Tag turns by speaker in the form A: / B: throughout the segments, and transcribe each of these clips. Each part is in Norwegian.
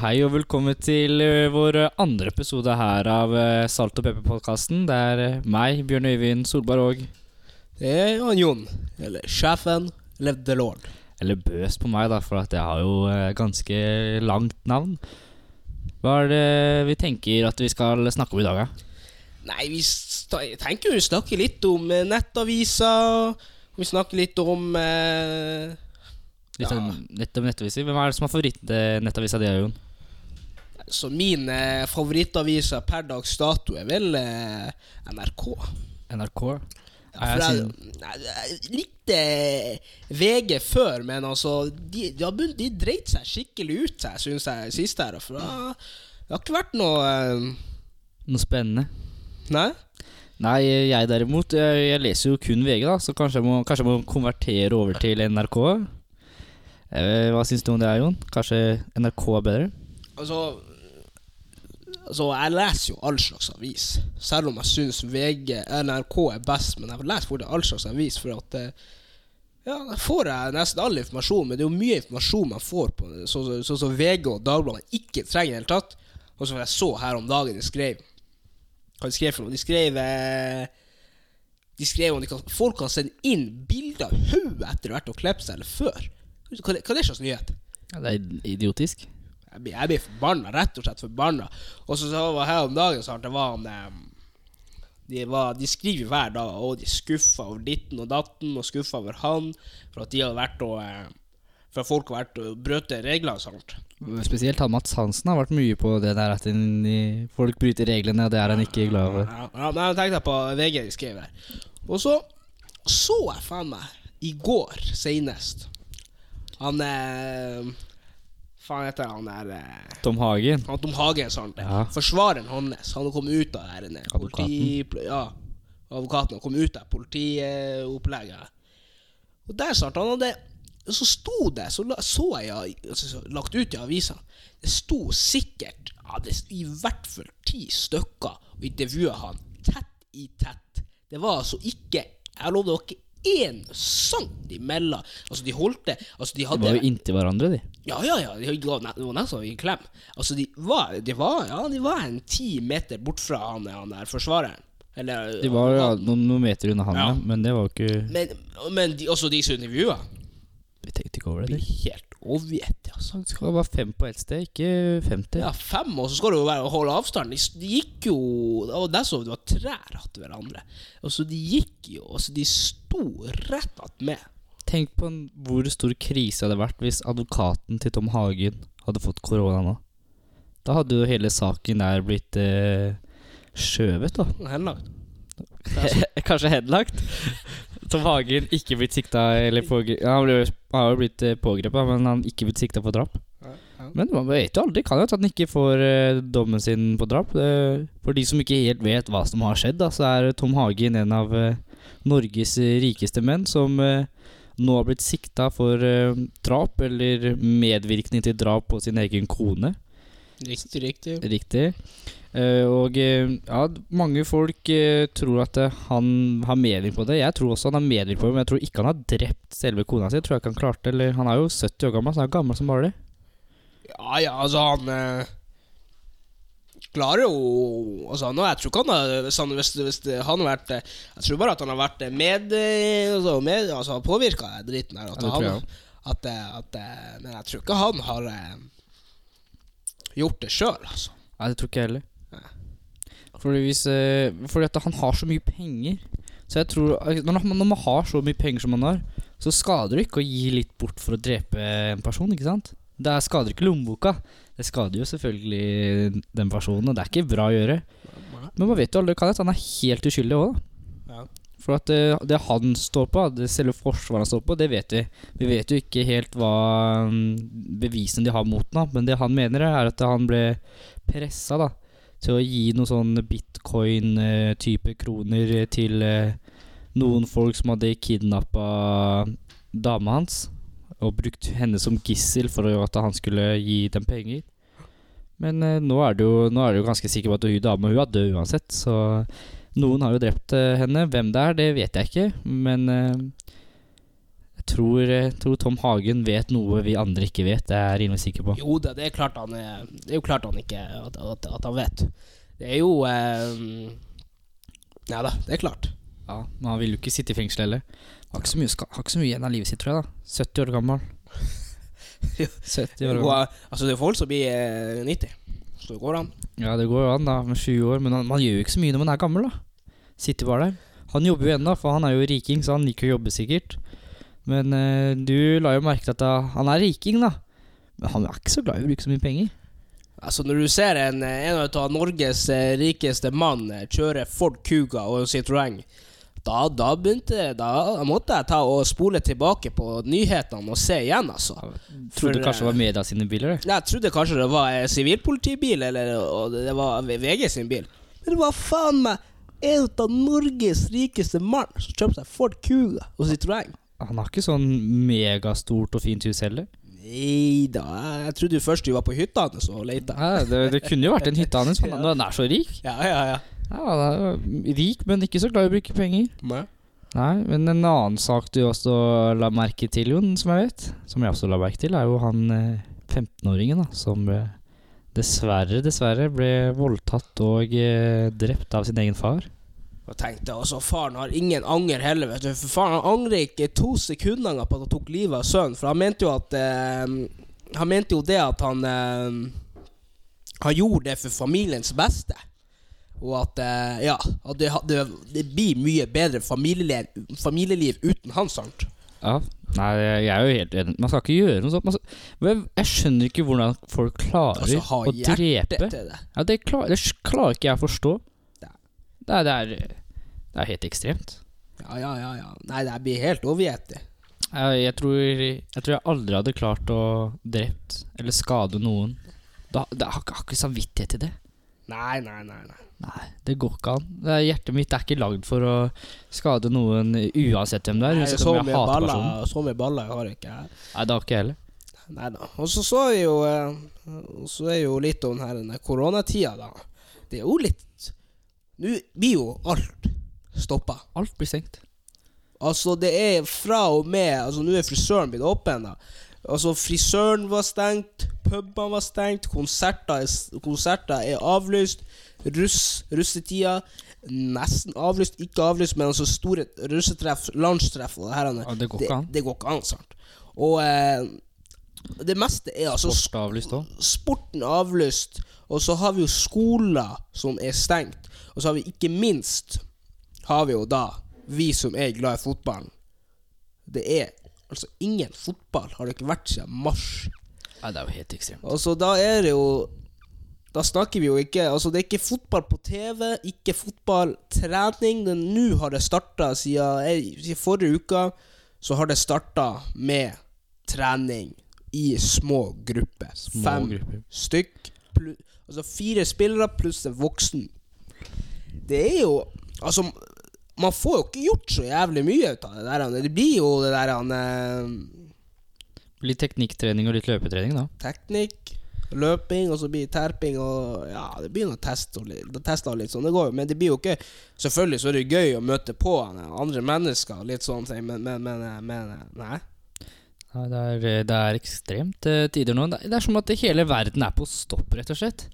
A: hei og velkommen til ø, vår ø, andre episode her av ø, Salt og pepper-podkasten. Det er ø, meg, Bjørn Øyvind Solberg og
B: Det er han Jon, eller sjefen, eller the lord.
A: Eller bøs på meg, da, for at jeg har jo ø, ganske langt navn. Hva er det vi tenker at vi skal snakke om i dag, da?
B: Nei, vi sta- jeg tenker vi snakker litt om eh, nettaviser. og Vi snakker litt om eh,
A: Litt, om, litt om nettaviser. Hvem er det som har favorittnettavisa di, Jon?
B: Så min eh, favorittaviser per dags dato er vel eh, NRK.
A: NRK?
B: For jeg, nei, jeg likte eh, VG før, men altså De, de, har begynt- de dreit seg skikkelig ut, jeg syns jeg, sist her. For da, det har ikke vært noe eh,
A: Noe spennende?
B: Nei?
A: Nei, jeg derimot, jeg, jeg leser jo kun VG, da, så kanskje jeg må, kanskje jeg må konvertere over til NRK. Eh, hva syns du om det, er, Jon? Kanskje NRK er bedre?
B: Altså Altså, jeg leser jo all slags avis. Selv om jeg syns VG NRK er best, men jeg leser fortsatt all slags avis. For at eh, Ja, der får jeg nesten all informasjon, men det er jo mye informasjon man får på sånn som så, så, VG og Dagbladet ikke trenger i det hele tatt. Og så får jeg så her om dagen de skrev Hva de skrev for noe? De skrev eh, de skrev om de kan, folk kan sende inn bilder av hodet etter å ha vært og klippet seg eller før. Hva, hva er det slags nyhet?
A: Ja, Det er idiotisk.
B: Jeg blir, jeg blir forbanna, rett og slett forbanna. Og så, så var her om dagen så det var han eh, de, var, de skriver hver dag og de er skuffa over ditten og datten og skuffa over han for at de hadde vært og eh, For at folk har vært og brøt regler og sånt.
A: Spesielt han Mats Hansen har vært mye på det der at en- i- folk bryter reglene, og det er han ikke glad for.
B: Ja, ja, men jeg tenkte på VG de skrev der. Og så så jeg faen meg i går seinest han eh, Faen heter han der eh,
A: Tom Hagen.
B: Han Tom Hagen sa han det.
A: Ja.
B: Forsvareren hans, han kom ut av det her politi... Ja, advokaten han kom ut av politiopplegget. Og der sa han at han hadde Så sto det, så la- så jeg ja, altså, så lagt ut i avisa, det sto sikkert ja, det, i hvert fall ti stykker og intervjua han tett i tett. Det var altså ikke Jeg lover dere, én sang imellom. Altså, de holdt det altså, de
A: De
B: hadde
A: var jo inntil hverandre, de.
B: ja, ja, ja. De ga ne- det var nesten en klem. Altså, de var, de var, ja, de var en ti meter bort fra han, han der forsvareren. Eller,
A: De var ja, noen, noen meter unna han, ja.
B: Ja.
A: men det var jo ikke
B: Men, men de, også de som intervjua,
A: Vi tenkte ikke over det.
B: blir
A: de.
B: helt overgitt. Altså.
A: Det skal være fem på ett sted, ikke 50.
B: Ja, fem, og så skal det jo være å holde avstand. De, s- de gikk jo Det var der så det var trær attmed hverandre. Altså, de gikk jo Altså, de sto rett attmed.
A: Tenk på en- hvor stor krise hadde vært hvis advokaten til Tom Hagen hadde fått korona nå. Da hadde jo hele saken der blitt eh, skjøvet, da.
B: Henlagt.
A: Kanskje henlagt. Tom Hagen ikke blitt sikta eller pågre- ja, Han ble, han har jo blitt eh, pågrepet, men han ikke blitt sikta for drap. Men man vet jo aldri. Kan jo at han ikke får eh, dommen sin på drap. Eh, for de som ikke helt vet hva som har skjedd, da, så er Tom Hagen en av eh, Norges eh, rikeste menn som eh, nå har blitt sikta for eh, drap eller medvirkning til drap på sin egen kone.
B: Riktig, riktig.
A: Riktig. Eh, og eh, ja, mange folk eh, tror at eh, han har medvirkning på det. Jeg tror også han har medvirkning på det, men jeg tror ikke han har drept selve kona si. Jeg tror ikke han klarte det. Eller han er jo 70 år gammel, så han er gammel som bare det.
B: Ja, ja, altså han eh, klarer jo Altså han, Jeg tror ikke han har hvis han, hvis, hvis det- han har vært eh, Jeg tror bare at han har vært eh, med, eh, altså, med altså, Påvirka dritten her.
A: Ja,
B: At
A: det tror jeg
B: han, at, eh, at, eh, men jeg tror ikke han har eh, gjort det sjøl, altså.
A: Nei, det tror ikke jeg heller.
B: Nei.
A: Fordi, hvis, eh, fordi at han har så mye penger. Så jeg tror eh, når, man- når man har så mye penger som man har, så skader det ikke å gi litt bort for å drepe en person, ikke sant? Det er- skader ikke lommeboka. Det skader jo selvfølgelig den personen, og det er ikke bra å gjøre. Men man vet jo aldri, kan hende at han er helt uskyldig òg, da.
B: Ja.
A: For at eh, det han står på, det selve forsvaret han står på, det vet vi. Vi vet jo ikke helt hva mm, bevisene de har mot ham, men det han mener, er at han ble pressa, da til å gi noen sånn bitcoin-type kroner til eh, noen folk som hadde kidnappa dama hans, og brukt henne som gissel for å- at han skulle gi dem penger. Men eh, nå, er det jo, nå er det jo ganske sikker på at hun dama hun er død uansett, så noen har jo drept eh, henne. Hvem det er, det vet jeg ikke, men eh, jeg tror, eh, tror Tom Hagen vet noe vi andre ikke vet. Det er jeg rimelig sikker på.
B: Jo, det, det, er klart han er, det er jo klart han ikke at, at, at han vet. Det er jo eh, Nei da, det er klart.
A: Ja, Men han vil jo ikke sitte i fengsel heller. Har ikke så mye, ska- har ikke så mye igjen av livet sitt, tror jeg. da 70 år gammel. 70 år
B: Og,
A: gammel.
B: eh, altså, det er folk som blir eh, 90, så det går an.
A: Ja, det går jo an, da, med 20 år. Men han, man gjør jo ikke så mye når man er gammel, da. Sitter bare der. Han jobber jo ennå, for han er jo riking, så han liker å jobbe, sikkert. Men eh, du la jo merke til at da, han er riking, da. Men han er ikke så glad i å bruke så mye penger.
B: Altså Når du ser en, en av Norges eh, rikeste mann eh, kjøre Ford Kuga og en Citroën, da, da begynte Da måtte jeg ta og spole tilbake på nyhetene og se igjen, altså.
A: Trodde
B: For,
A: kanskje det var media sine biler. det.
B: Nei, Jeg trodde kanskje det var eh, sivilpolitibil, eller og det var VG sin bil. Men det var faen meg en av Norges rikeste mann som kjøpte seg Ford Kuga og Citroën.
A: Han har ikke sånn megastort og fint hus heller.
B: Nei da, jeg- jeg trodde jo først du var på hytta hans og leita.
A: Nei, det, det kunne jo vært en hytte hans, for han- når han er så rik.
B: Ja, ja, ja.
A: Ja, han er rik, men ikke så glad i å bruke penger.
B: Men-
A: Nei, men en annen sak du også la merke til, Jon, som jeg vet, som jeg også la merke til, er jo han eh, 15-åringen da, som eh, dessverre, dessverre ble voldtatt og eh, drept av sin egen far.
B: Og tenkte altså, faren har ingen anger heller, vet du. For faren han angrer ikke to sekunder på at han tok livet av sønnen. For han mente jo at eh, Han mente jo det at han eh, Han gjorde det for familiens beste. Og at eh, Ja, at det, det, det blir mye bedre familieliv, familieliv uten han, sant?
A: Ja, nei, jeg er jo helt enig. Man skal ikke gjøre noe sånt. Man skal, Men jeg skjønner ikke hvordan folk klarer
B: Altså, ha
A: å
B: Det,
A: drepe.
B: det, det.
A: Ja, det, klar, det klarer ikke jeg å forstå.
B: Nei.
A: Det er, det er, det er helt ekstremt.
B: Ja, ja, ja, ja. Nei, det blir helt overgjetig.
A: Jeg, jeg, tror, jeg tror jeg aldri hadde klart å drept eller skade noen. Da, da har, ikke- har ikke samvittighet til det.
B: Nei, nei, nei. nei.
A: Nei, det går ikke an. Det er, hjertet mitt er ikke lagd for å skade noen uansett hvem det er.
B: nei
A: uansett
B: så,
A: om jeg
B: mye
A: hater personen.
B: baller, så mye baller har jeg ikke jeg.
A: Nei, det har ikke jeg heller.
B: Nei da. Og så så vi jo eh, og Så er jo litt om her, denne koronatida, da. Det er jo litt Nå blir jo alt stoppa.
A: Alt blir stengt.
B: Altså, det er fra og med Altså, nå er frisøren blitt åpen, da. Altså, frisøren var stengt, pubene var stengt, konserter er, s- konserter er avlyst. Russ, russetida nesten avlyst, ikke avlyst, men altså store russetreff, lunsjtreff og det her.
A: Ja, det går ikke an.
B: Det, går ikke an, sant. Og eh, det meste er altså sk-
A: Sport er avlyst òg.
B: sporten er avlyst, og så har vi jo skoler som er stengt. Og så har vi ikke minst har vi jo da vi som er glad i fotballen. Det er altså ingen fotball har det ikke vært siden mars.
A: Nei, det er jo helt ekstremt.
B: Og så da er det jo Da snakker vi jo ikke Altså, det er ikke fotball på TV, ikke fotballtrening. Den- Nå har det starta siden, eh, siden forrige uke. Så har det starta med trening i små grupper.
A: Små
B: Fem
A: grupper.
B: stykk. Plu, altså fire spillere pluss en voksen. Det er jo Altså, man får jo ikke gjort så jævlig mye ut av det der. Det blir jo det der eh,
A: Litt teknikktrening og litt løpetrening, da.
B: teknikk, løping, og så blir det terping og Ja, det blir noe test og litt, test og litt sånn. Det går jo, men det blir jo ikke Selvfølgelig så er det gøy å møte på han, eh, andre mennesker, og litt sånn ting, men, men, men, men eh, Nei.
A: Nei, det er, eh, det er ekstremt eh, tider nå. Det er- det er som at hele verden er på stopp, rett og slett.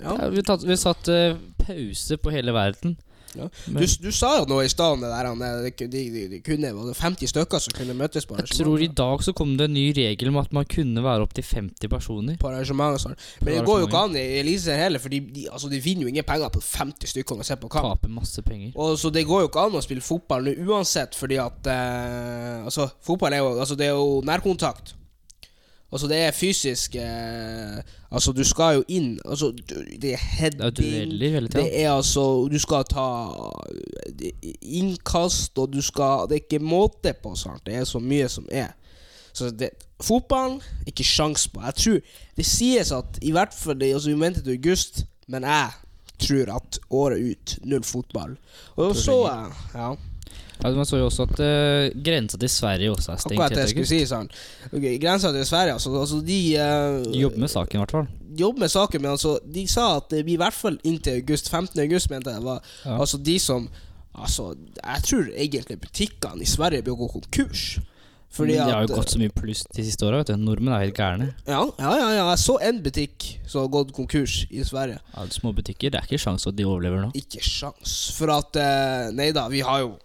B: Ja.
A: Ja, vi, tatt, vi satt eh, pause på hele verden.
B: Ja.
A: Men
B: Du, du sa jo noe i stad om det der han, eh, de, de, de, de kunne, var det 50 stykker som kunne møtes på
A: jeg tror i
B: arrangementer.
A: dag så kom det en ny regel om at man kunne være opptil 50 personer.
B: På arrangementer og sånn. Men det går jo ikke an i Elise heller, for de, de, altså, de vinner jo ingen penger på 50 stykker når de ser på kamp.
A: Taper masse penger.
B: Og så Det går jo ikke an å spille fotball nå uansett, fordi at eh, Altså, fotball er jo, altså, det er jo nærkontakt. Altså, det er fysisk eh, Altså, du skal jo inn Altså, du,
A: Det er
B: det er
A: jo
B: heading
A: dueller hele
B: Det
A: tida.
B: er altså Du skal ta eh, innkast, og du skal Det er ikke måte på, sant. Det er så mye som er. Så det, fotballen ikke sjans på. Jeg tror Det sies at i hvert fall det, altså, Vi venter til august, men jeg tror at året ut null fotball. Og så eh, Ja,
A: Ja, man så jo også at uh, grensa til Sverige også er stengt.
B: akkurat det
A: etter
B: jeg skulle
A: august.
B: si, sånn. Okay, Grensa til Sverige, altså. altså de
A: De
B: eh,
A: Jobber med saken, i hvert fall.
B: jobber med saken, men altså, de sa at det blir i hvert fall inntil august. 15. august, mente jeg. Var,
A: Ja.
B: Altså, de som Altså, jeg tror egentlig butikkene i Sverige bør gå konkurs. Fordi
A: Men Mm, det har
B: at
A: jo gått så mye pluss de siste åra. Nordmenn er helt gærne.
B: ja, ja, ja, ja, jeg så en butikk som har gått konkurs i Sverige.
A: Ja, små butikker, det er ikke sjans at de overlever nå.
B: Ikke sjans. For at eh, Nei da, vi har jo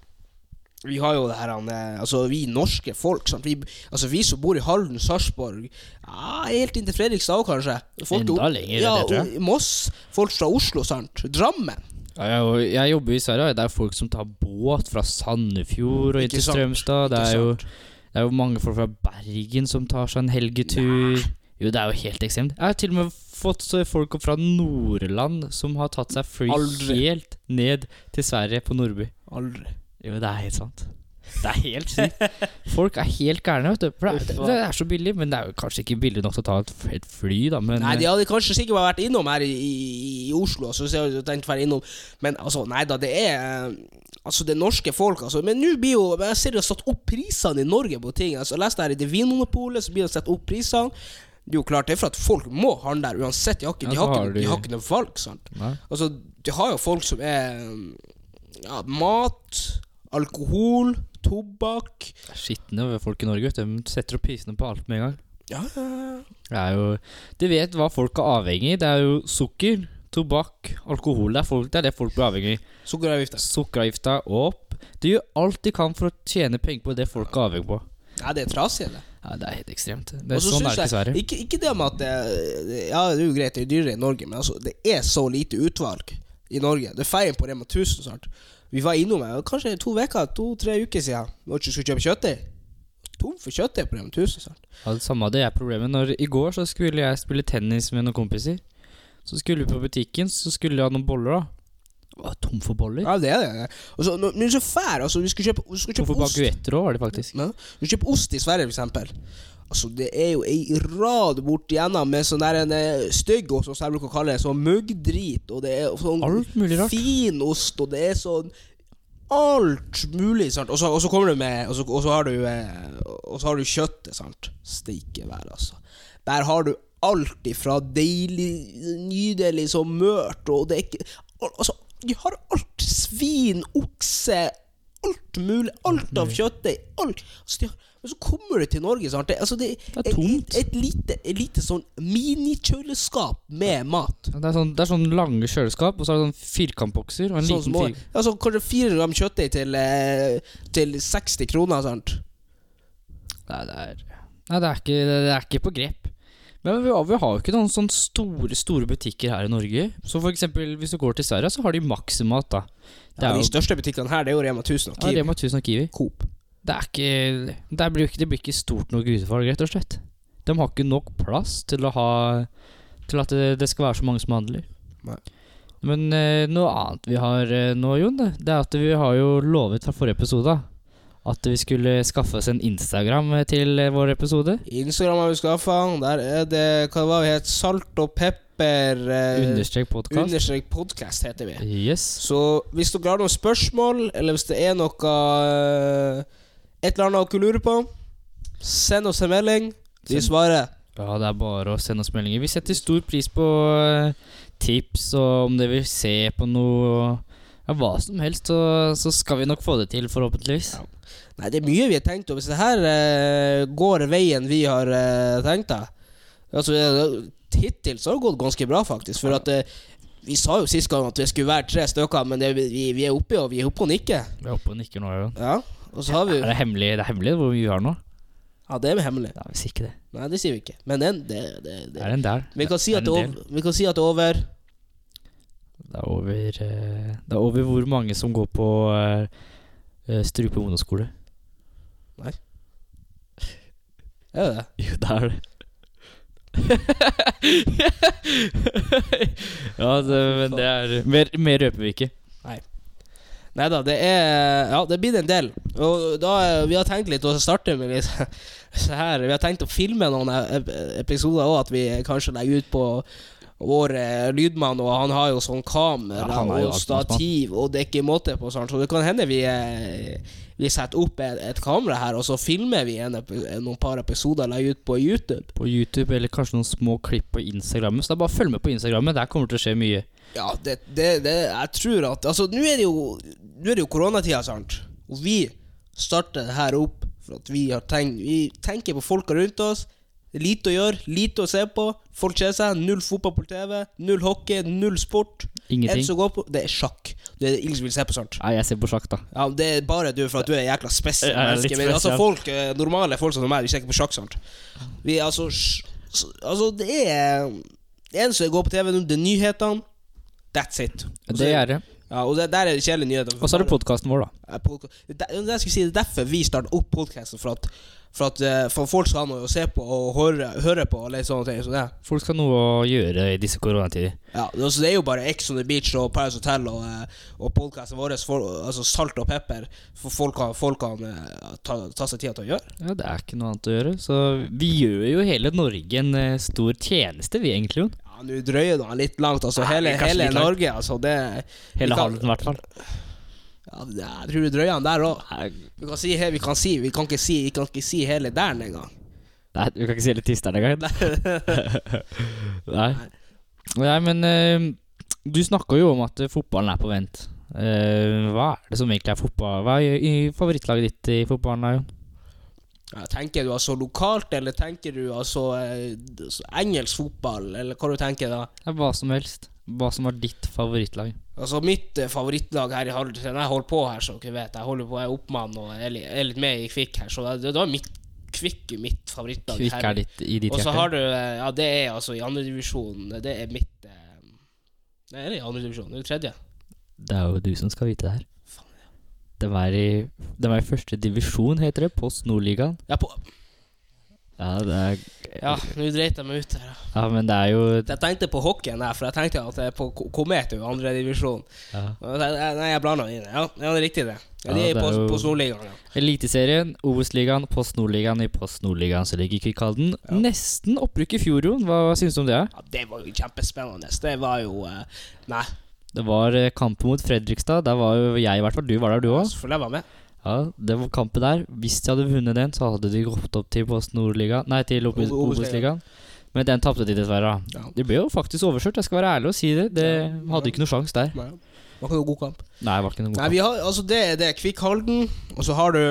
B: Vi har jo det her han, eh, Altså, vi norske folk sant? Vi, altså, vi som bor i Halden, Sarpsborg ja, Helt inntil Fredrikstad òg, kanskje.
A: Enda
B: til-
A: lenger,
B: ja,
A: det tror jeg.
B: og- Moss. Folk fra Oslo, sant. Drammen.
A: Ja, jeg, og jeg jobber i Sverige, og det er folk som tar båt fra Sandefjord og inn
B: Ikke
A: til
B: sant,
A: Strømstad. Det
B: ikke
A: er, jo, det er jo mange folk fra Bergen som tar seg en helgetur. Jo, det er jo helt ekstremt. Jeg har til og med fått så folk opp fra Nordland som har tatt seg fly
B: Aldri.
A: helt ned til Sverige på Nordby.
B: Aldri.
A: Jo, det er helt sant. Det er helt sykt. Folk er helt gærne, vet du. For det,
B: Uff,
A: det, det er så billig, men det er jo kanskje ikke billig nok til å ta et, f- et fly, da. Men eh,
B: Nei, de hadde kanskje sikkert bare vært innom her i, i, i Oslo. Så ser jeg tenkt å være innom Men altså, nei da, det er eh, Altså, det norske folk, altså. Men nå blir jo Jeg ser de har satt opp prisene i Norge på ting. Altså, jeg leste her i det Vinmonopolet, så blir det satt opp prisene. Det er jo klart det er for at folk må handle der uansett. De har
A: Ja,
B: ikke, de
A: så
B: har
A: har
B: ikke,
A: de-
B: de har ikke noe valg, sant.
A: eh, Nei.
B: Altså, de har jo folk som er eh, Ja, mat, alkohol, tobakk
A: Det er skitne over folk i Norge, vet du. De setter opp prisene på alt med en gang.
B: Ja, ja, ja.
A: Det er jo De vet hva folk er avhengig i. Det er jo sukker, tobakk, alkohol. Det er, folk, det, er det folk blir avhengig i.
B: Sukkeravgifter.
A: Sukkeravgifta opp. De gjør alt de kan for å tjene penger på det folk er avhengig på.
B: Nei, det er trasig, det.
A: Ja, det er helt ekstremt. Det er
B: Og så
A: sånn
B: synes
A: er det dessverre.
B: jeg- Ikke, ikke det med at det, det- Ja, det er jo greit, det er dyrere i Norge, men altså, det er så lite utvalg i Norge. Det er feiring på Rema 1000 snart. Vi var innom her kanskje to uker, to-tre uker siden vi var ikke skulle kjøpe kjøttdeig. Tom for kjøttdeig på Rema 1000 snart.
A: Ja, det samme hadde jeg problemet når I går så skulle jeg spille tennis med noen kompiser. Så skulle vi på butikken, så skulle jeg ha noen boller, da. Var jeg tom for boller.
B: Ja, det er det. Og så, når, men så fær, altså, vi skulle kjøpe, vi skulle
A: Tom
B: kjøpe
A: for
B: ost.
A: baguetter òg, var det faktisk.
B: Ja. Du kjøper ost i Sverige, for eksempel. Altså, det er jo ei rad bort igjennom med sånn der en eh, stygg ost, som jeg bruker å kalle det, sånn muggdrit, og det er sånn
A: Alt mulig rart.
B: fin ost, og det er sånn alt mulig, sant. Og så, og så kommer du med Og så, og så har du eh, Og så har du kjøttet, sant. Steike være, altså. Der har du alt ifra deilig, nydelig, så mørt, og det er ikke al- Altså, de har alt. Svin, okse alt mulig, alt av kjøttdeig, alt altså, de har, Men så kommer du til Norge, sant? Det, altså, det,
A: Det er tomt.
B: Et, et, lite, et lite sånn minikjøleskap med mat.
A: Ja, Det er, sånn, det er sånn lange kjøleskap, og så er det sånn firkantbokser og en
B: Sånn
A: liten
B: små,
A: fir-
B: altså, kanskje 400 gram kjøttdeig til, eh, til 60 kroner, sant?
A: Nei, det er, nei, det er, ikke, det er ikke på grep. Men vi har, vi har jo ikke noen sånne store store butikker her i Norge. Så for eksempel, hvis du går til Sverige, så har de Maximat. da Det
B: Ja,
A: er
B: de
A: jo
B: største butikkene her, det er jo Rema 1000 og
A: ja,
B: Kiwi.
A: Rema 1000 og Kiwi.
B: Coop.
A: Det, er ikke, det, blir jo ikke, det blir ikke stort nok utvalg, rett og slett. De har ikke nok plass til, å ha, til at det, det skal være så mange som handler.
B: Nei.
A: Men eh, noe annet vi har eh, nå, Jon, det det er at vi har jo lovet fra forrige episode at vi skulle skaffe oss en Instagram til eh, vår episode.
B: Instagram har vi skaffa. Der er det hva var vi het? Salt og pepper eh,
A: Understrek podkast.
B: Understrek podcast heter vi.
A: Yes.
B: Så hvis dere har noen spørsmål, eller hvis det er noe eh, Et eller annet dere lurer på, send oss en melding. Vi
A: Send-
B: svarer.
A: Ja, det er bare å sende oss meldinger. Vi setter stor pris på eh, tips, og om dere vil se på noe ja, Hva som helst, så, så skal vi nok få det til, forhåpentligvis.
B: Ja. Nei, det er mye vi har tenkt, og hvis det her eh, går veien vi har eh, tenkt da Altså, eh, Hittil så har det gått ganske bra, faktisk. For at eh, vi sa jo sist gang at vi skulle være tre stykker, men det, vi, vi er oppe og vi er oppe og nikker.
A: Vi er oppe og nikker nå, Jørgen.
B: Ja, og så har vi
A: Er det hemmelig, det er hemmelig hvor mye vi har nå?
B: Ja, det er hemmelig.
A: Det er visst ikke det.
B: Nei, det sier vi ikke. Men den, det, det,
A: Det
B: det.
A: er en der.
B: Vi, kan si
A: det er
B: at
A: en
B: det
A: del.
B: over, vi kan si at det er over.
A: Det er over eh, Det er over hvor mange som går på eh, eh, Strupe ungdomsskole.
B: Er det det?
A: Jo, det er det. ja, det, men det er Mer, mer røper vi ikke.
B: Nei da, det er Ja, det blir en del. Og da eh, Vi har tenkt litt å starte med litt så her Vi har tenkt å filme noen ep- episoder òg, at vi kanskje legger ut på vår eh, lydmann, og han har jo sånn kamera
A: Ja, han er jo
B: og
A: alltid
B: stativ, og det er ikke måte på sånn, så det kan hende vi eh, vi setter opp et, et kamera her, og så filmer vi en, epi- noen par episoder og legger ut på YouTube.
A: På YouTube eller kanskje noen små klipp på Instagram. Så det er bare å følge med på Instagram. Der kommer det til å skje mye.
B: Ja, det, det, det Jeg tror at Altså, nå er det jo Nå er det jo koronatida, sant? Og vi starter det her opp For at vi, har tenkt, vi tenker på folka rundt oss. Lite å gjøre, lite å se på. Folk kjeder seg. Null fotball på TV. Null hockey, null sport.
A: Ingenting.
B: En som går på Det er sjakk. Det er ingen som vil se på sånt.
A: Nei, jeg ser på sjakk, da.
B: Ja, men Det er bare du, for at du er jækla spesiell
A: Jeg er litt
B: menneske. Men altså,
A: spesiell.
B: folk, eh, normale folk som meg, vi ser ikke på sjakk sånt. Vi, altså, sj- s- altså, det er Det eneste som går på TV nå, det er nyhetene. That's it. Og så-
A: Det er det.
B: ja, og det, der er det kjedelige nyheter.
A: Og så er det podkasten vår, da.
B: Ja, podca- Det er der- det jeg skulle si, det er derfor vi startet opp podcasten For at, for at eh, for folk skal ha noe å se på og høre, høre på. Og litt sånne ting så det,
A: Folk skal ha noe å gjøre i disse koronatider.
B: ja, det, altså, det er jo bare Ex on the Beach og Paris Hotel og, eh, og podkasten vår, for, altså Salt og pepper, for folk kan, folk kan eh, ta, ta seg tid til å gjøre.
A: Ja, det er ikke noe annet å gjøre. Så vi gjør jo hele Norge en eh, stor tjeneste, vi egentlig. Jon.
B: Ja, Nå drøyer det litt langt. Altså,
A: Ja,
B: hele
A: kanskje
B: hele
A: litt langt.
B: Norge, altså. Det, vi
A: Hele
B: kan-
A: Halden, i hvert fall.
B: Ja, det- jeg tror du drøyer den der òg. Vi kan si he- vi kan si, vi kan ikke si, vi kan ikke si hele Dæren engang.
A: Nei, du kan ikke si hele Tisteren engang. Nei. Nei, men eh, du snakka jo om at eh, fotballen er på vent. Eh, hva er det som egentlig er fotball? Hva er i i favorittlaget ditt i fotballen? da, Jon?
B: Ja, tenker du altså lokalt, eller tenker du altså eh, d- så engelsk fotball, eller hva du tenker da?
A: Det er hva som helst. Hva som var ditt favorittlag.
B: Altså Mitt eh, favorittlag her i Halden Jeg holder på her, som dere vet. Jeg holder på, jeg er oppmann og er li- er litt med i Kvikk her, så det, det var mitt Kvikk er mitt favorittlag.
A: Kvikk er ditt i ditt
B: Og så
A: hjerte.
B: har du eh, Ja, det er altså i andredivisjon. Det er mitt eh, Nei, er det i andredivisjon? Det er tredje.
A: Det er jo du som skal vite det her. De er i, de er i første divisjon, heter det. Post Nordligaen.
B: Ja, på,
A: Ja, det er,
B: ja nå dreit jeg meg ut her.
A: ja, men det er jo
B: Jeg tenkte på hockeyen her, for jeg tenkte at det er på Ko- Komet er jo andredivisjon.
A: ja.
B: Nei, jeg blanda inn det. Ja, ja, det er riktig, det. Ja,
A: Ja,
B: de er,
A: det er
B: på,
A: jo-
B: på Solligaen, ja.
A: Eliteserien, Obos-ligaen, Post Nordligaen. I Post Nordligaen så ligger Kvikkhalden. Nesten opprykk i fjor, Jon. Hva syns du om det?
B: ja. Det var jo kjempespennende. Det var jo eh, Nei,
A: Det var eh, kamp mot Fredrikstad. Der var jo jeg, i hvert fall. Du var der, du òg.
B: selvfølgelig var jeg med.
A: Ja, det var kampen der. Hvis de hadde vunnet den, så hadde de gått opp til Post Nordligaen Nei, til Ob-
B: Ob- Obos-ligaen.
A: Obos-ligaen. Men den tapte de, dessverre. da.
B: Ja.
A: De ble jo faktisk overkjørt, jeg skal være ærlig og si det. Det
B: Ja.
A: hadde ikke noe sjanse der.
B: Nei, Det var ikke noe god kamp.
A: Nei, det var ikke noe god
B: Nei,
A: kamp.
B: vi har, altså Det, det er Kvikk Halden, og så har du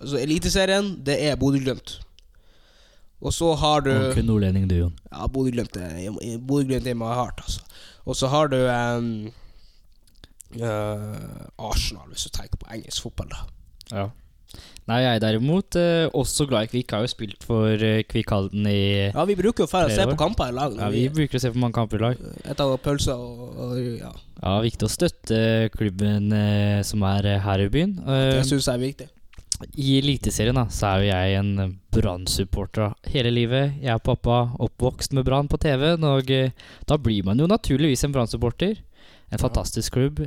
B: altså Eliteserien, det er Bodø-Glimt. Og så har du
A: Ordentlig nordlending, du, Jon.
B: Ja, Bodø-Glimt er- Bodø-Glimt er my heart, altså. Og så har du em, eh, Arsenal, hvis du tenker på engelsk fotball, da.
A: Ja. Nei, jeg derimot eh, også glad i Kvikk. Har jo spilt for eh, Kvikk Halden i
B: Ja, vi bruker jo å
A: Flere
B: se
A: år.
B: på kamper i lag.
A: ja, Vi bruker å se på mange kamper i lag.
B: Etter pølser og, og ja.
A: Ja, viktig å støtte klubben eh, som er eh, her i byen. Eh,
B: Det syns jeg er viktig.
A: I Eliteserien da, så er jo jeg en eh, Brann-supporter da. hele livet. Jeg og pappa oppvokst med Brann på TV-en, og eh, da blir man jo naturligvis en Brann-supporter. En fantastisk klubb.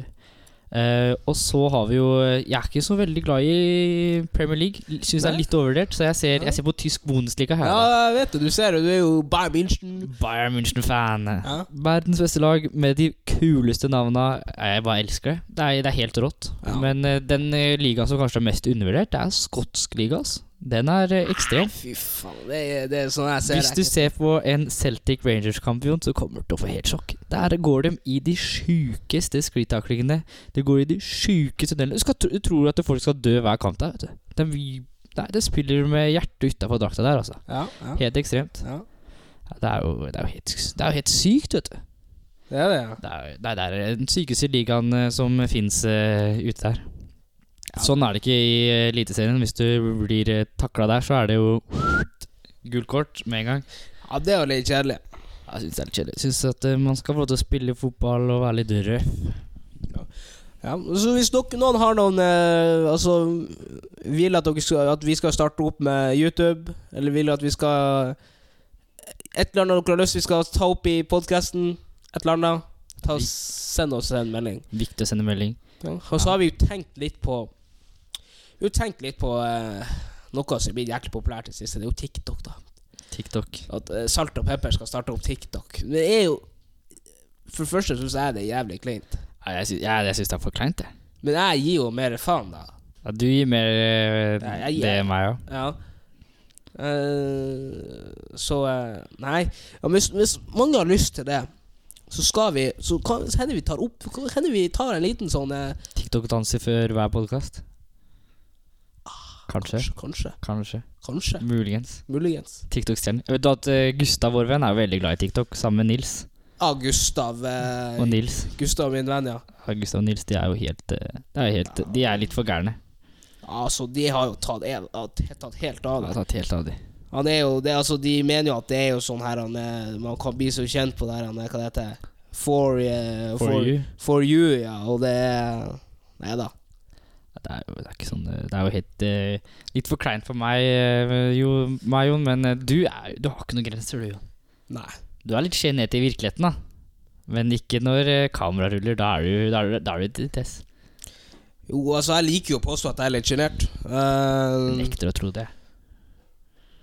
A: Eh, og så har vi jo eh, Jeg er ikke så veldig glad i Premier League. Syns det er
B: Nei.
A: litt overvurdert, så jeg ser, jeg ser på tysk Bundesliga her. da.
B: Ja, jeg vet det. Du ser det. Du er jo Bayern München.
A: Bayern München-fan.
B: Ja.
A: Verdens beste lag med de kuleste navna. Jeg bare elsker det. Det er, det er helt rått.
B: Ja.
A: Men eh, den eh, ligaen som kanskje er mest undervurdert, det er skotsk liga. ass. Den er eh, ekstrem.
B: Fy faen, det er, det er sånn jeg ser
A: Hvis du ser på en Celtic Rangers-kampion, så kommer du til å få helt sjokk. Der går de i de sjukeste skritacklingene. De går i de sjukeste tunnelene. Du, skal, tro- du tror at folk skal dø hver kamp der, vet du. De, nei, det spiller med hjertet utafor drakta der, altså.
B: Ja, ja,
A: Helt ekstremt.
B: ja.
A: Ja, Det er jo, det er jo, helt, det er jo helt sykt, vet du.
B: Det er det, ja.
A: Det er, det er det er den sykeste ligaen eh, som fins ute der. Sånn er det ikke i eh, Eliteserien. Hvis du blir uh, takla der, så er det jo gult kort med en gang.
B: ja. Det er jo litt kjedelig.
A: Jeg syns det er litt kjedelig. Syns at eh, man skal få lov til å spille fotball og være litt røff.
B: Ja, så hvis dere, noen har noen eh, Altså vil at, dere skal, at vi skal starte opp med YouTube, eller vil at vi skal Et eller annet dere har lyst vi skal ta opp i podkasten, et eller annet, ta, og send oss en melding.
A: Viktig å sende melding.
B: Ja. Og så har vi jo tenkt litt på Vi har jo tenkt litt på eh, noe som blir jæklig populært i det siste. Det er jo TikTok, da.
A: TikTok.
B: At eh, Salt og Pepper skal starte opp TikTok. Det er jo For det første syns jeg det er jævlig kleint.
A: Nei, jeg syns, jeg, jeg syns det er for kleint, jeg.
B: Men jeg gir jo mer faen, da.
A: Ja, du gir mer eh,
B: Nei, jeg gir-
A: det enn meg òg.
B: Ja. Eh, så eh, Nei. Ja, men hvis, hvis mange har lyst til det, så skal vi Så kan så hender vi tar opp kan- Hender vi tar en liten sånn eh,
A: TikTok-danser før hver podkast. Kanskje.
B: Kanskje.
A: Ah, Kanskje.
B: Kanskje.
A: Muligens.
B: Muligens.
A: TikTok-stjernen. Jeg Vet du at eh, Gustav, vår venn, er jo veldig glad i TikTok, sammen med Nils.
B: Ja, Gustav. Eh,
A: Og Nils.
B: Gustav, min venn, ja.
A: Ja, Gustav og Nils, de er jo helt, eh, de er, jo helt De er litt for gærne.
B: Altså, de har jo tatt, en- har tatt helt av.
A: Han
B: det.
A: har tatt helt av de.
B: Han er jo, det, altså, de mener jo at det er jo sånn her han, eh, Man kan bli så kjent på det her han, eh, Hva det heter For, eh,
A: For
B: for,
A: you.
B: for you, ja. Og det er Nei da.
A: Ja, Det er jo det er ikke sånn eh, Det er jo helt eh, Litt for kleint for meg, eh, jo, meg Jon, men eh, du, er, du har ikke noen grenser, du, Jon.
B: Nei.
A: Du er litt sjenert i virkeligheten, da. Men ikke når eh, kamera ruller. Da er du, da er du, da er du et tess.
B: Jo, altså, jeg liker jo å påstå at jeg er litt sjenert. Eh,
A: Nekter å tro det.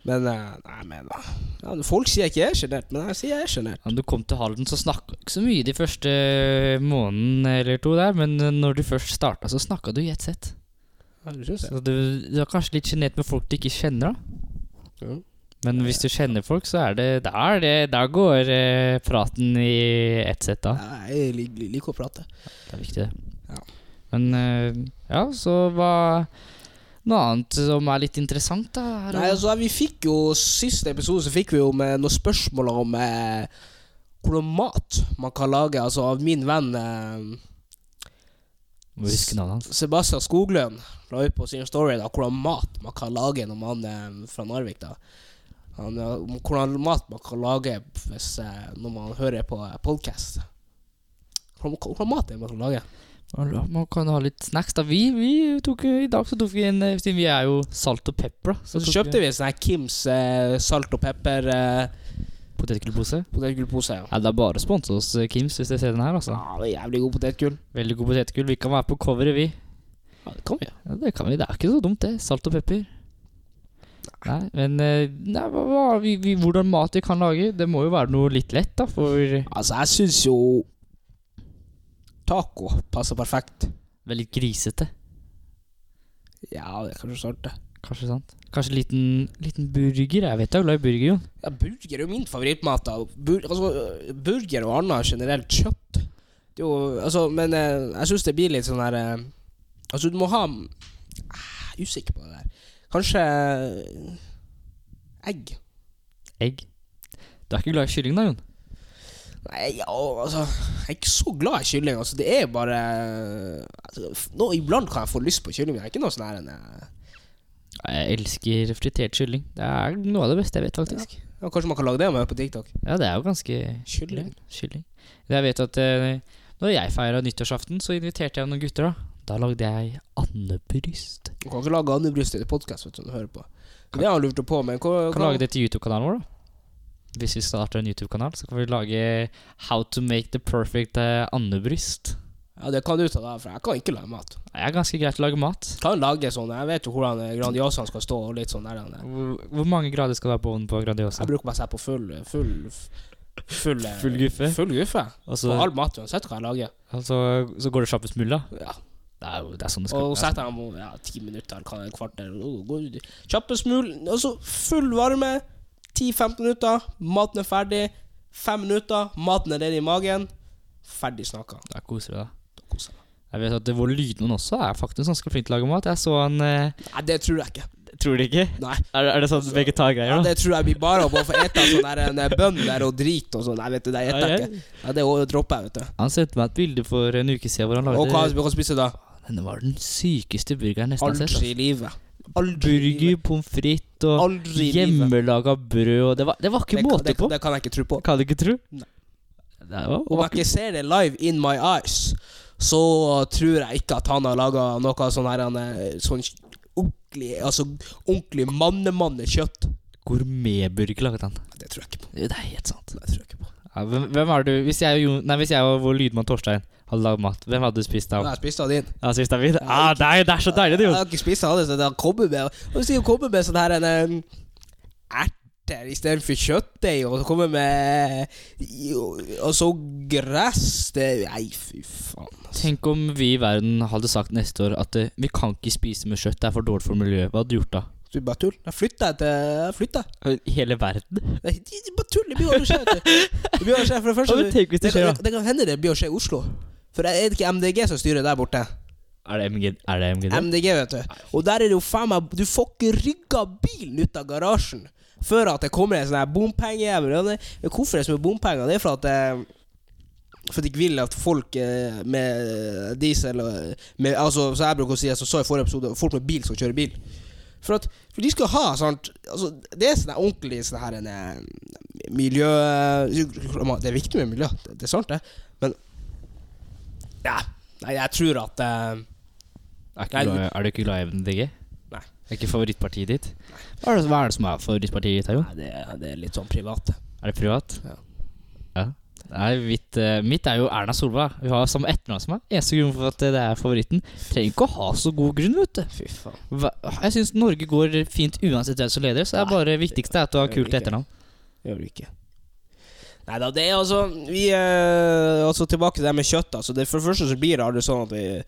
B: men eh, Nei, men da. Ja, men folk sier jeg ikke jeg er sjenert, men jeg sier jeg er sjenert.
A: Ja, du kom til Halden, så snakka du ikke så mye de første måneden eller to der, men eh, når du først starta, så snakka du i ett sett.
B: Ja, det syns jeg.
A: Så du, du er kanskje litt sjenert med folk du ikke kjenner, da.
B: Ja.
A: Men hvis du kjenner folk, så er det Da, er det, da går eh, praten i ett sett, da.
B: Ja, Jeg lik- liker å prate.
A: Det er viktig, det.
B: Ja.
A: Men eh, ja, så hva Noe annet som er litt interessant, da? her
B: Nei,
A: og-
B: altså, vi fikk jo Siste episode så fikk vi jo med noen spørsmål om eh, hvordan mat man kan lage. Altså av min venn eh,
A: Må huske navnet hans.
B: Sebastian Skoglund la ut på sin story da hvordan mat man kan lage når man er fra Narvik. da han, eh, om Hvordan mat man kan lage hvis, eh, når man hører på podkast. Hvordan mat er det man kan lage?
A: Ja, Man kan ha litt snacks, da. Vi, vi tok jo- I dag så tok vi en eh, Siden vi er jo salt og pepper, da.
B: Så kjøpte vi en sånn her Kims eh, salt og pepper eh,
A: Potetgullpose.
B: potetgullpose. Ja.
A: Ja, det er bare å sponse oss, eh, Kims, hvis dere ser den her, altså.
B: Ja, det er jævlig god potetgull.
A: Veldig god potetgull. Vi kan være på coveret, vi.
B: Ja, det kan vi.
A: Ja, det kan vi. Det er ikke så dumt, det. Salt og pepper. Nei, men eh, nei, hva, hva, vi, vi, hvordan mat vi kan lage, det må jo være noe litt lett, da. For
B: Altså, jeg syns jo taco passer perfekt.
A: veldig grisete,
B: Ja, det er kanskje sant, det.
A: kanskje. sant? Kanskje liten, liten burger. Jeg vet du er glad i burger, Jon.
B: Ja, burger er jo min favorittmat. da. Bur altså, øh, burger og annet generelt kjøtt. Det er jo, altså, men eh, jeg syns det blir litt sånn her eh, Altså, du må ha ah, Jeg er usikker på det der. Kanskje eh, egg?
A: Egg. Du er ikke glad i kylling, da, Jon?
B: Nei, ja, altså Jeg er ikke så glad i kylling. Altså, det er bare altså, f- nå, Iblant kan jeg få lyst på kylling, men jeg er ikke noe sånn her en, eh,
A: Ja, Jeg elsker fritert kylling. Det er noe av det beste jeg vet, faktisk.
B: ja, Kanskje man kan lage det med på TikTok?
A: Ja, det er jo ganske
B: Kylling.
A: greit. Kylling. Jeg vet at eh, når jeg feira nyttårsaften, så inviterte jeg noen gutter. Da Da lagde jeg andebryst.
B: Du kan ikke lage andebryst til podkast når du hører på. Det har han lurt på, men hva,
A: Kan lage det til YouTube-kanalen vår, da. Hvis vi starter en YouTube-kanal, så kan vi lage How to make the perfect eh, andebryst.
B: Ja, det kan du ta deg, for jeg kan ikke lage mat.
A: Det er ganske greit å lage mat.
B: Kan lage sånn, jeg vet jo hvordan eh, Grandiosaen skal stå og litt sånn der. den der.
A: Hvor, hvor mange grader skal det være på ovnen på Grandiosa?
B: Jeg bruker bare å se på full Full, f- full, eh,
A: Full guffe?
B: Full guffe.
A: Altså,
B: På all mat, uansett hva jeg lager.
A: altså, så går det kjappest mulig, da.
B: Ja.
A: Det er jo det er sånn det skal
B: Og setter jeg dem ja, ti minutter, eller hva, en kvarter og går ut. Kjappest mulig. Altså, full varme. 10-15 minutter, maten er ferdig. 5 minutter, maten er nede i magen. Ferdig snakka.
A: Da koser du deg.
B: Koser meg.
A: Jeg vet at eh, vår lydmann også er faktisk ganske flink til å lage mat. Jeg så han eh,
B: Nei, det tror jeg ikke.
A: Tror du ikke?
B: Nei.
A: Er, er det sånn vegetargreier,
B: Ja,
A: da?
B: det tror jeg blir bare å bare få ete sånn der en bønn der og drit og sånn. Nei, vet du, det
A: Ja,
B: eter jeg
A: jeg-
B: ikke. Ja, det å- dropper jeg, vet du.
A: Han sendte meg et bilde for en uke siden hvor han
B: Og hva
A: lagde
B: vi kan spise da?
A: Denne var den sykeste burgeren jeg nesten har sett.
B: Aldri i livet.
A: altså.
B: Aldri i
A: Burger,
B: livet.
A: pommes frites og
B: Aldri i livet.
A: hjemmelaga brød og Det var, det var ikke
B: Det kan,
A: måte
B: det,
A: på.
B: kan- det kan jeg ikke tro på.
A: Kan du ikke tro?
B: Nei.
A: Det var,
B: Om jeg ikke ser det live in my eyes, så tror jeg ikke at han har laga noe sånn her han er Sånn ordentlig Altså ordentlig mannemannekjøtt.
A: Gourmetburger laget han.
B: Det tror jeg ikke på.
A: Det er helt sant.
B: Det tror jeg ikke på.
A: Ja, hvem, hvem er du Hvis jeg, og Jon- nei, hvis jeg og vår lydmann Torstein hadde lagd mat, hvem hadde du spist
B: Jeg
A: av?
B: har spist av din.
A: Ja, siste er min. Ah, det, er, det er så deilig, det,
B: Jeg
A: Jon.
B: har ikke spist av det, så det har kommet med Og så kommer med sånn her en, em, erter istedenfor kjøttdeig, og så kommer med jo, Og så gress det, Nei, fy faen. Altså.
A: Tenk om vi i verden hadde sagt neste år at eh, vi kan ikke spise med kjøtt, det er for dårlig for miljøet. Hva hadde du gjort da?
B: Du bare tull. Da flytter jeg til Jeg flytter.
A: Hele verden?
B: Nei, de- de Bare tull. Det blir jo å skje. vet du. Det blir jo å skje, for det første.
A: Ja, men
B: du-
A: tenk hvis det skjer, da.
B: kan, det kan hende det blir å skje i Oslo. For det er ikke MDG som styrer der borte.
A: Er det MG? Er det MGD?
B: MDG, vet du. Og der er det jo faen meg Du får ikke rygga bilen ut av garasjen før at det kommer en sånn her bompengejævel. Ja, det- men Hvorfor er det så mye bompenger? Det er for at eh, For at de ikke vil at folk eh, med diesel og- med, Altså, som jeg bruker å si, som jeg sa i forrige episode, folk med bil skal kjøre bil. For at for de skal ha sånt altså, Det er sånn her ordentlig sånn her en, eh, miljø... Det er viktig med miljø, det, det er sant, det. Men ja, Nei, jeg tror at eh,
A: Er, ikke du glad- er du ikke glad i MDG?
B: Nei.
A: Er ikke favorittpartiet ditt? Hva er det, hva er det som er favorittpartiet ditt, Herjo?
B: Nei, det, er- det er litt sånn privat.
A: Er det privat?
B: Ja.
A: Ja. Nei, mitt, eh, mitt er jo Erna Solberg. Hun har samme etternavn som meg. Eneste grunn for at det er favoritten. Trenger ikke å ha så god grunn, vet du.
B: Fy faen.
A: Hva- Jeg syns Norge går fint uansett hvem som leder, så det er
B: Nei,
A: bare viktigste er at du har
B: det gjør
A: kult
B: det ikke.
A: etternavn.
B: Gjør du ikke. Nei da, det er altså Vi eh, Altså tilbake til det med kjøtt. Altså, det, for det første så blir det aldri sånn at vi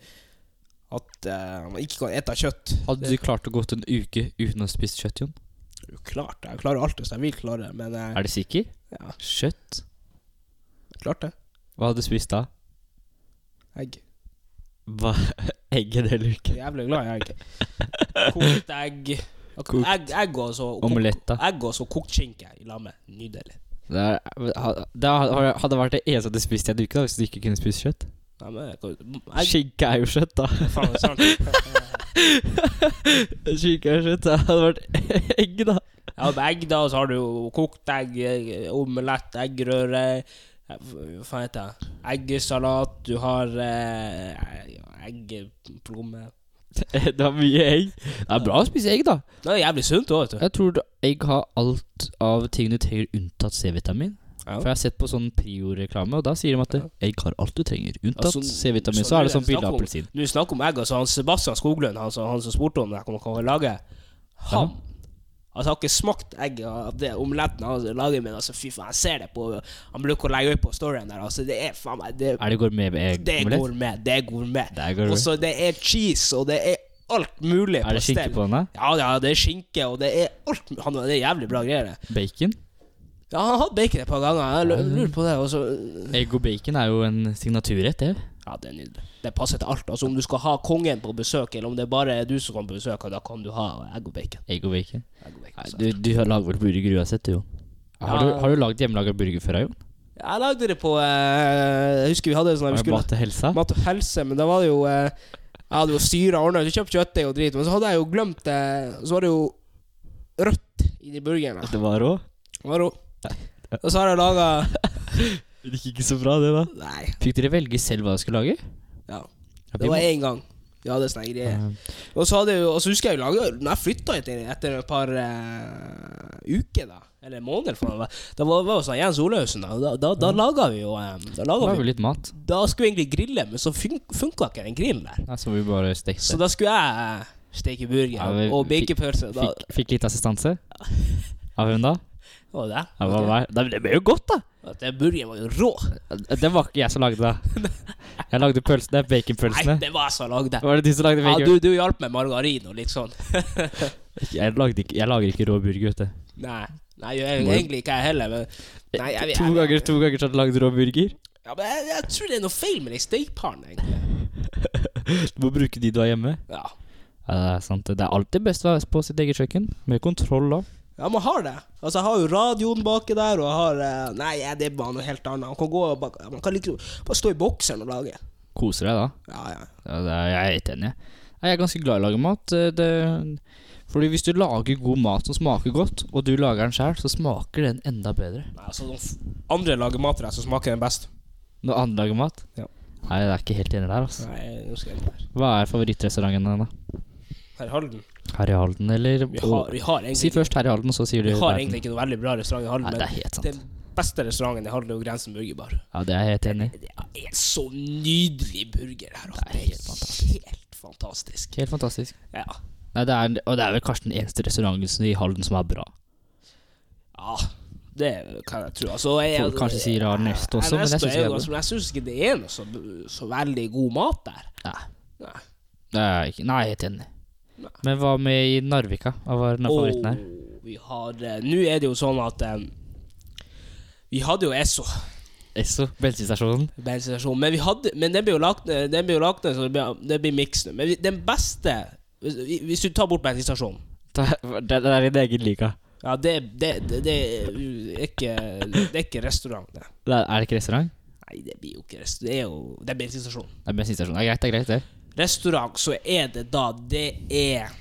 B: At eh, man ikke kan ete kjøtt.
A: Hadde du klart å gått en uke uten å spise kjøtt, Jon?
B: Det er jo klart Jeg klarer alt hvis jeg vil klare det, men eh,
A: Er du sikker?
B: Ja.
A: Kjøtt?
B: klart det.
A: Hva hadde du spist da?
B: Egg.
A: Hva? Egg eller
B: Jeg
A: ikke?
B: er jævlig glad i egg. Kokt egg.
A: Kokt.
B: Egg, egg og så kok-
A: Omelett, da.
B: Egg og så kokt skinke i lag med. Nydelig.
A: Det, er, ha- det har- hadde vært det eneste du spiste i en uke da, hvis du ikke kunne spise kjøtt.
B: Nei, men jeg kan- Egg,
A: Skinke er jo kjøtt, da.
B: faen, sånn. det er sant.
A: Skinke er kjøtt. Det hadde vært egg, da.
B: Ja, med egg, da, så har du jo kokt egg, eh, omelett, eggerøre eh, Hva faen heter det? Eggesalat. Du har eh, eggeplomme
A: Det er mye egg. Det er bra å spise egg, da.
B: Det er jævlig sunt òg, vet du.
A: Jeg tror du- egg har alt av ting du trenger unntatt C-vitamin.
B: Ja.
A: For jeg har sett på sånn Prio-reklame, og da sier de at
B: Ja.
A: egg har alt du trenger unntatt
B: Altså,
A: C-vitamin.
B: så
A: Så er det
B: det er
A: sånn billig
B: snakk om-
A: appelsin.
B: Nå snakker om egg, altså han Sebastian Skoglund, han, som- han som spurte om det, hva man kan lage Han Altså, jeg har ikke smakt egg av det omeletten han lager, men altså, fy faen, jeg ser det på Han bruker å legge ut på storyen der, altså, det er faen meg Det,
A: Er det gourmet med egg?
B: det er
A: omelett?
B: gourmet. Det er gourmet.
A: Det er gourmet.
B: Og så det er cheese, og det er alt mulig
A: Er det skinke
B: stell.
A: på den? da?
B: Ja, ja, det er skinke, og det er alt mu- han, Det er jævlig bra greier. det.
A: Bacon?
B: Ja, han har hatt bacon et par ganger. Jeg lu- lurer på det. Og så
A: Egg og bacon er jo en signaturrett, det.
B: Ja, det er nydelig. Det passer til alt. Altså Om du skal ha kongen på besøk, eller om det bare er du som kan på besøk, da kan du ha egg og bacon.
A: Egg og bacon.
B: Egg og bacon altså.
A: Nei, Du,
B: så.
A: du har laget vel burger uansett, du, Jon. Har,
B: Ja.
A: du, har du lagd hjemmelaga burger før, Jon?
B: Jeg lagde det på eh, Jeg husker vi hadde sånn
A: Har
B: her, vi
A: du
B: skulle
A: mat til helsa?
B: Mat og helse, men da var det jo eh, Jeg hadde jo styra og ordna, kjøpt kjøttdeig og drit, men så hadde jeg jo glemt det. Så var det jo rødt inni burgeren. da.
A: Det var rå.
B: Det var jo- Og så har jeg laga
A: Det gikk ikke så bra, det, da.
B: Nei.
A: Fikk dere velge selv hva dere skulle lage?
B: Ja.
A: Ja, vi
B: Det var
A: må-
B: én gang. Ja, det er sånne greier.
A: Ja.
B: Og så hadde jeg, jo- og så husker jeg jo laget, Når jeg flytta hit etter et par eh, uker, da eller måneder, for meg, da var var jo sånn Jens Olaussen. Da, da, da, da laga vi jo eh, Da,
A: Da
B: laga
A: har vi
B: vi,
A: litt mat.
B: da skulle vi egentlig grille, men så fun funka ikke den grillen der.
A: Nei, så må vi bare stekte.
B: Så da skulle jeg eh, steke burger
A: Ja, vi-
B: og bakepølse. Da
A: Fikk, fikk litt assistanse. Av hvem da?
B: var det
A: Av av meg. Nei, men Det ble jo godt, da!
B: At den burgeren var jo rå.
A: Det var ikke jeg som lagde det. Jeg lagde pølsene.
B: Nei,
A: Baconpølsene.
B: det var jeg som lagde den.
A: Var det du som lagde
B: Ja,
A: bacon?
B: du, du hjalp med margarin og litt sånn.
A: Jeg, lagde ikke, jeg lager ikke rå burger, vet du.
B: Nei, nei jeg, gjør
A: Må-
B: egentlig ikke jeg heller, men Nei, jeg, jeg,
A: To ganger to ganger så har du lagd rå burger.
B: Ja, men jeg, jeg tror det er noe feil med den stekepannen, egentlig.
A: Du må bruke de du har hjemme.
B: Ja.
A: Ja, det er Eh, sant. Det er alltid best å være på sitt eget kjøkken. Med kontroll da
B: ja, man har det. Altså, jeg har jo radioen baki der, og jeg har eh, Nei, ja, det er bare noe helt annet. Man kan gå og bak, Man kan liksom bare stå i bokseren og lage.
A: Koser deg da.
B: Ja, ja.
A: Ja, det er, jeg er helt enig. Nei, Jeg er ganske glad i å lage mat. Eh, Det, fordi hvis du lager god mat som smaker godt, og du lager den sjøl, så smaker den enda bedre.
B: Nei, altså, de f- andre lager mat til deg som smaker den best.
A: Når andre lager mat?
B: Ja.
A: Nei, jeg er ikke helt enig der, altså.
B: Nei, nå skal jeg her.
A: Hva er favorittrestauranten din, da?
B: Her i Halden.
A: Her i Halden, eller
B: Vi har, vi har,
A: Si
B: egentlig,
A: først her i Halden, så sier du
B: vi har
A: verden.
B: egentlig ikke noe veldig bra restaurant i
A: Nei,
B: Halden,
A: det
B: men
A: er helt sant.
B: den beste restauranten i Halden er jo Grensen burgerbar.
A: Ja, det er jeg helt enig i.
B: Det er så nydelig burger her. at
A: Det er
B: Det er
A: helt fantastisk.
B: helt fantastisk.
A: Helt fantastisk.
B: Ja.
A: Nei, det er, og det er vel kanskje den eneste restauranten i Halden som er bra.
B: Ja, det kan jeg tro. Altså, jeg,
A: Folk kanskje sier Ernesto også, men jeg synes det er
B: jeg
A: bra.
B: syns Jeg synes ikke det er noe så, så veldig god mat der.
A: Nei.
B: Nei.
A: Det er ikke, nei, jeg er helt enig.
B: Nei.
A: Men hva med i Narvika? Hva var den favoritten her?
B: Og vi har eh, Nå er det jo sånn at eh, Vi hadde jo Esso.
A: Esso, bensinstasjonen.
B: Bensinstasjon. Men, vi hadde, men den blir jo lagt ned, den blir jo lagt ned så det blir, det blir miks nå. Men vi- den beste hvis, hvis du tar bort bensinstasjonen
A: Det, det er din egen liga.
B: Ja, det, det, det, det er ikke Det er ikke restaurant, det.
A: Det er, er det ikke restaurant?
B: Nei, det blir jo ikke restaurant. Det er jo Det er bensinstasjon.
A: Det er bensinstasjon. Det er greit, det er greit, det.
B: Restaurant, så er det da Det er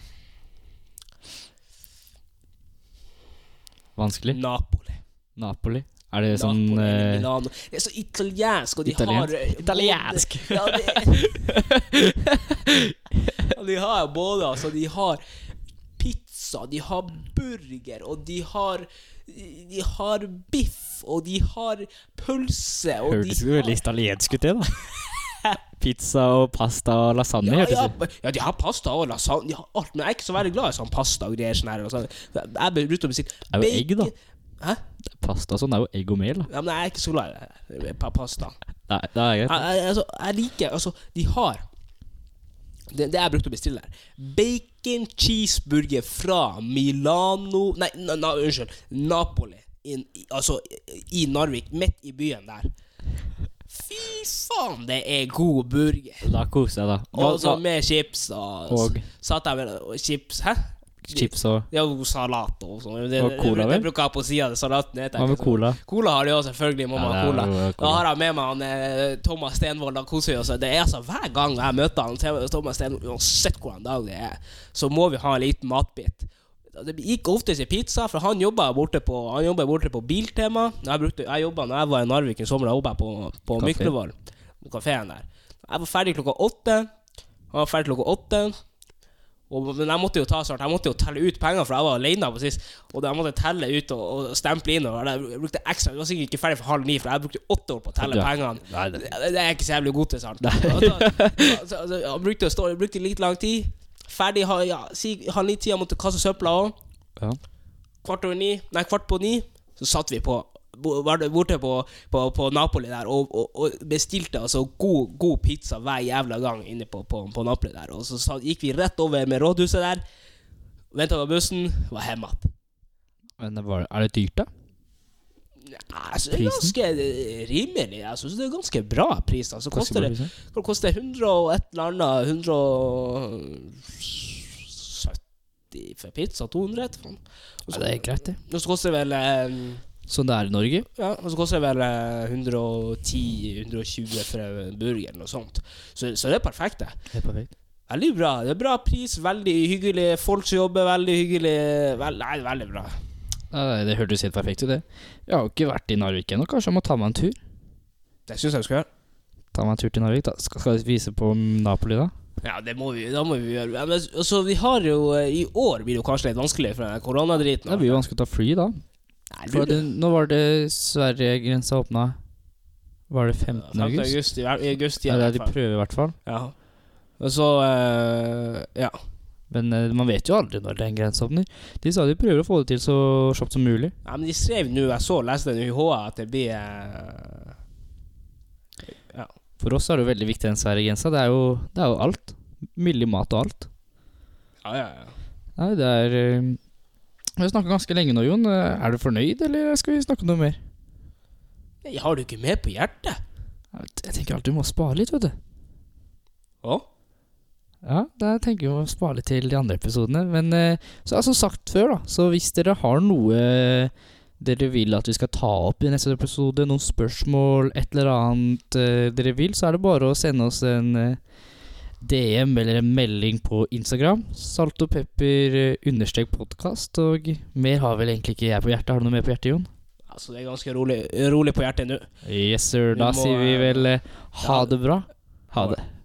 A: Vanskelig.
B: Napoli.
A: Napoli. Er det sånn
B: Napoli eller
A: eh,
B: Milano. Det er så italiensk, og de
A: Italiensk.
B: har både-
A: Italiensk.
B: Ja, det- Og de har jo både Altså, de har pizza, de har burger, og de har De har biff, og de har pølse, og
A: Hørtes
B: de
A: jo
B: har
A: veldig italiensk ut, det, da. Pizza og pasta og lasagne,
B: ja,
A: hørtes
B: ja,
A: det
B: b- ja, de har pasta og lasagne, de har alt, men jeg er ikke så veldig glad i sånn pasta og greier. Sånn her, og sånn. Jeg blir brukt opp i sitt
A: Det er jo egg, da.
B: Hæ?
A: ut. Pasta og sånn er jo egg og mel, da.
B: Ja, men jeg er ikke så glad i det her, pa- pasta.
A: Nei, det er greit.
B: Jeg, jeg, altså, jeg liker Altså, de har det, det jeg brukte å bestille der. Bacon cheeseburger fra Milano Nei, na, na, unnskyld. Napoli. In, i, altså i Narvik, midt i byen der. Fy faen, det er god burger.
A: Da koser jeg, da. Hva-
B: Og så
A: hva-
B: med chips og,
A: Og?
B: Satt jeg med og chips Hæ?
A: chips og
B: Ja, og salat og sånn. Det,
A: Og
B: det-
A: cola,
B: det,
A: vel?
B: det bruker jeg på sida av salaten. heter jeg
A: Hva med
B: ikke så-
A: cola?
B: Cola har de òg, selvfølgelig. Mamma
A: Ja, det
B: har
A: er
B: cola.
A: jo eh, cola.
B: Da har jeg med meg han, eh, Thomas Stenvold. Da koser vi oss. Det er altså Hver gang jeg møter han, Theo- Thomas Stenvold, uansett hvordan dag det er, så må vi ha en liten matbit. Det gikk ofte til pizza, for han jobba borte på Han jobbet borte på Biltema. Når Jeg, brukte- jeg jobbet når jeg var i Narvik en sommer, da jobbet jeg på, på
A: Kafé.
B: Myklevål, kafeen der. Jeg var ferdig klokka åtte. Han var ferdig klokka åtte. Og, men jeg måtte jo ta snart, jeg måtte jo telle ut penger, for jeg var alene på sist. Og da måtte jeg telle ut og, og stemple inn. Og jeg brukte ekstra, jeg var sikkert ikke ferdig for halv ni, for jeg brukte åtte år på å telle
A: Ja.
B: pengene.
A: Nei,
B: Det
A: det
B: det er jeg ikke så jævlig god til, sant. Og da- så- så- så Jeg brukte, å stå, jeg brukte litt lang tid. Ferdig ha- ja, si, halv ni-tida, måtte kaste søpla òg.
A: ja.
B: Kvart over ni, nei, kvart på ni, så satt vi på bo- var det borte på, på, på Napoli der og, og, og bestilte altså god, god pizza hver jævla gang inne på, på, på Napoli der. Og så satt, gikk vi rett over med rådhuset der. Venta på bussen, var hjemme igjen.
A: Men det var, er det dyrt, da?
B: Jeg synes det er ganske eh, rimelig. Jeg synes det er ganske bra pris. Altså, koster det,
A: Liksom?
B: det koster 100 og et eller annet 170 for pizza? 200? vet du faen. Og
A: Ja,
B: så-
A: det er greit, det.
B: Og så koster det vel eh,
A: Sånn det er i Norge?
B: Ja, og så koster det vel eh, 110-120 for en burger eller noe sånt. Så, så det er perfekt, det.
A: Helt perfekt.
B: Veldig bra. Det er bra pris, veldig hyggelig folk som jobber, veldig hyggelig Vel, Nei, veldig bra.
A: Nei, det hørtes helt perfekt ut, det. Jeg har jo ikke vært i Narvik ennå. Kanskje jeg må ta meg en tur?
B: Det syns jeg du skal gjøre.
A: Ta meg en tur til Narvik, da. Skal, skal vi vise på Napoli, da?
B: Ja, det må vi, da må vi gjøre. Ja, Men, altså, vi har jo eh, I år blir det jo kanskje litt vanskelig for den koronadriten.
A: Det blir jo vanskelig å ta fly, da.
B: Nei,
A: For det, nå var det Sverige-grensa åpna Var det 15.
B: 15.
A: august?
B: august. I, i august
A: Ja,
B: ja,
A: det er de
B: i hvert fall.
A: prøver i hvert fall.
B: Ja. Og så eh, Ja.
A: Men eh, man vet jo aldri når den grensa åpner. De sa de prøver å få det til så kjapt som mulig.
B: Ja, men de skrev nå, jeg så leste den i UiH, at det blir eh,
A: For oss er det jo veldig viktig den Sverige-grensa. Det, er jo- det er jo alt. Millig mat og alt.
B: Ja, ja, ja.
A: Nei, det er eh, Vi har snakka ganske lenge nå, Jon. Eh, Er du fornøyd, eller skal vi snakke om noe mer?
B: Nei, har du ikke mer på hjertet?
A: Jeg tenker alltid du må spare litt, vet du.
B: Å?
A: Ja, det tenker vi å spare litt til de andre episodene. Men eh, så, altså sagt før, da, så hvis dere har noe eh, dere vil at vi skal ta opp i neste episode, noen spørsmål, et eller annet eh, dere vil, så er det bare å sende oss en eh, DM eller en melding på Instagram. Salt og pepper eh, understrek podkast. Og mer har vel egentlig ikke jeg på hjertet. Har du noe mer på hjertet, Jon?
B: Altså, det er ganske rolig, rolig på hjertet nå.
A: Yes, sir.
B: Vi
A: Da
B: må,
A: sier vi
B: eh,
A: vel eh, ha
B: ha-
A: det bra. Ha det.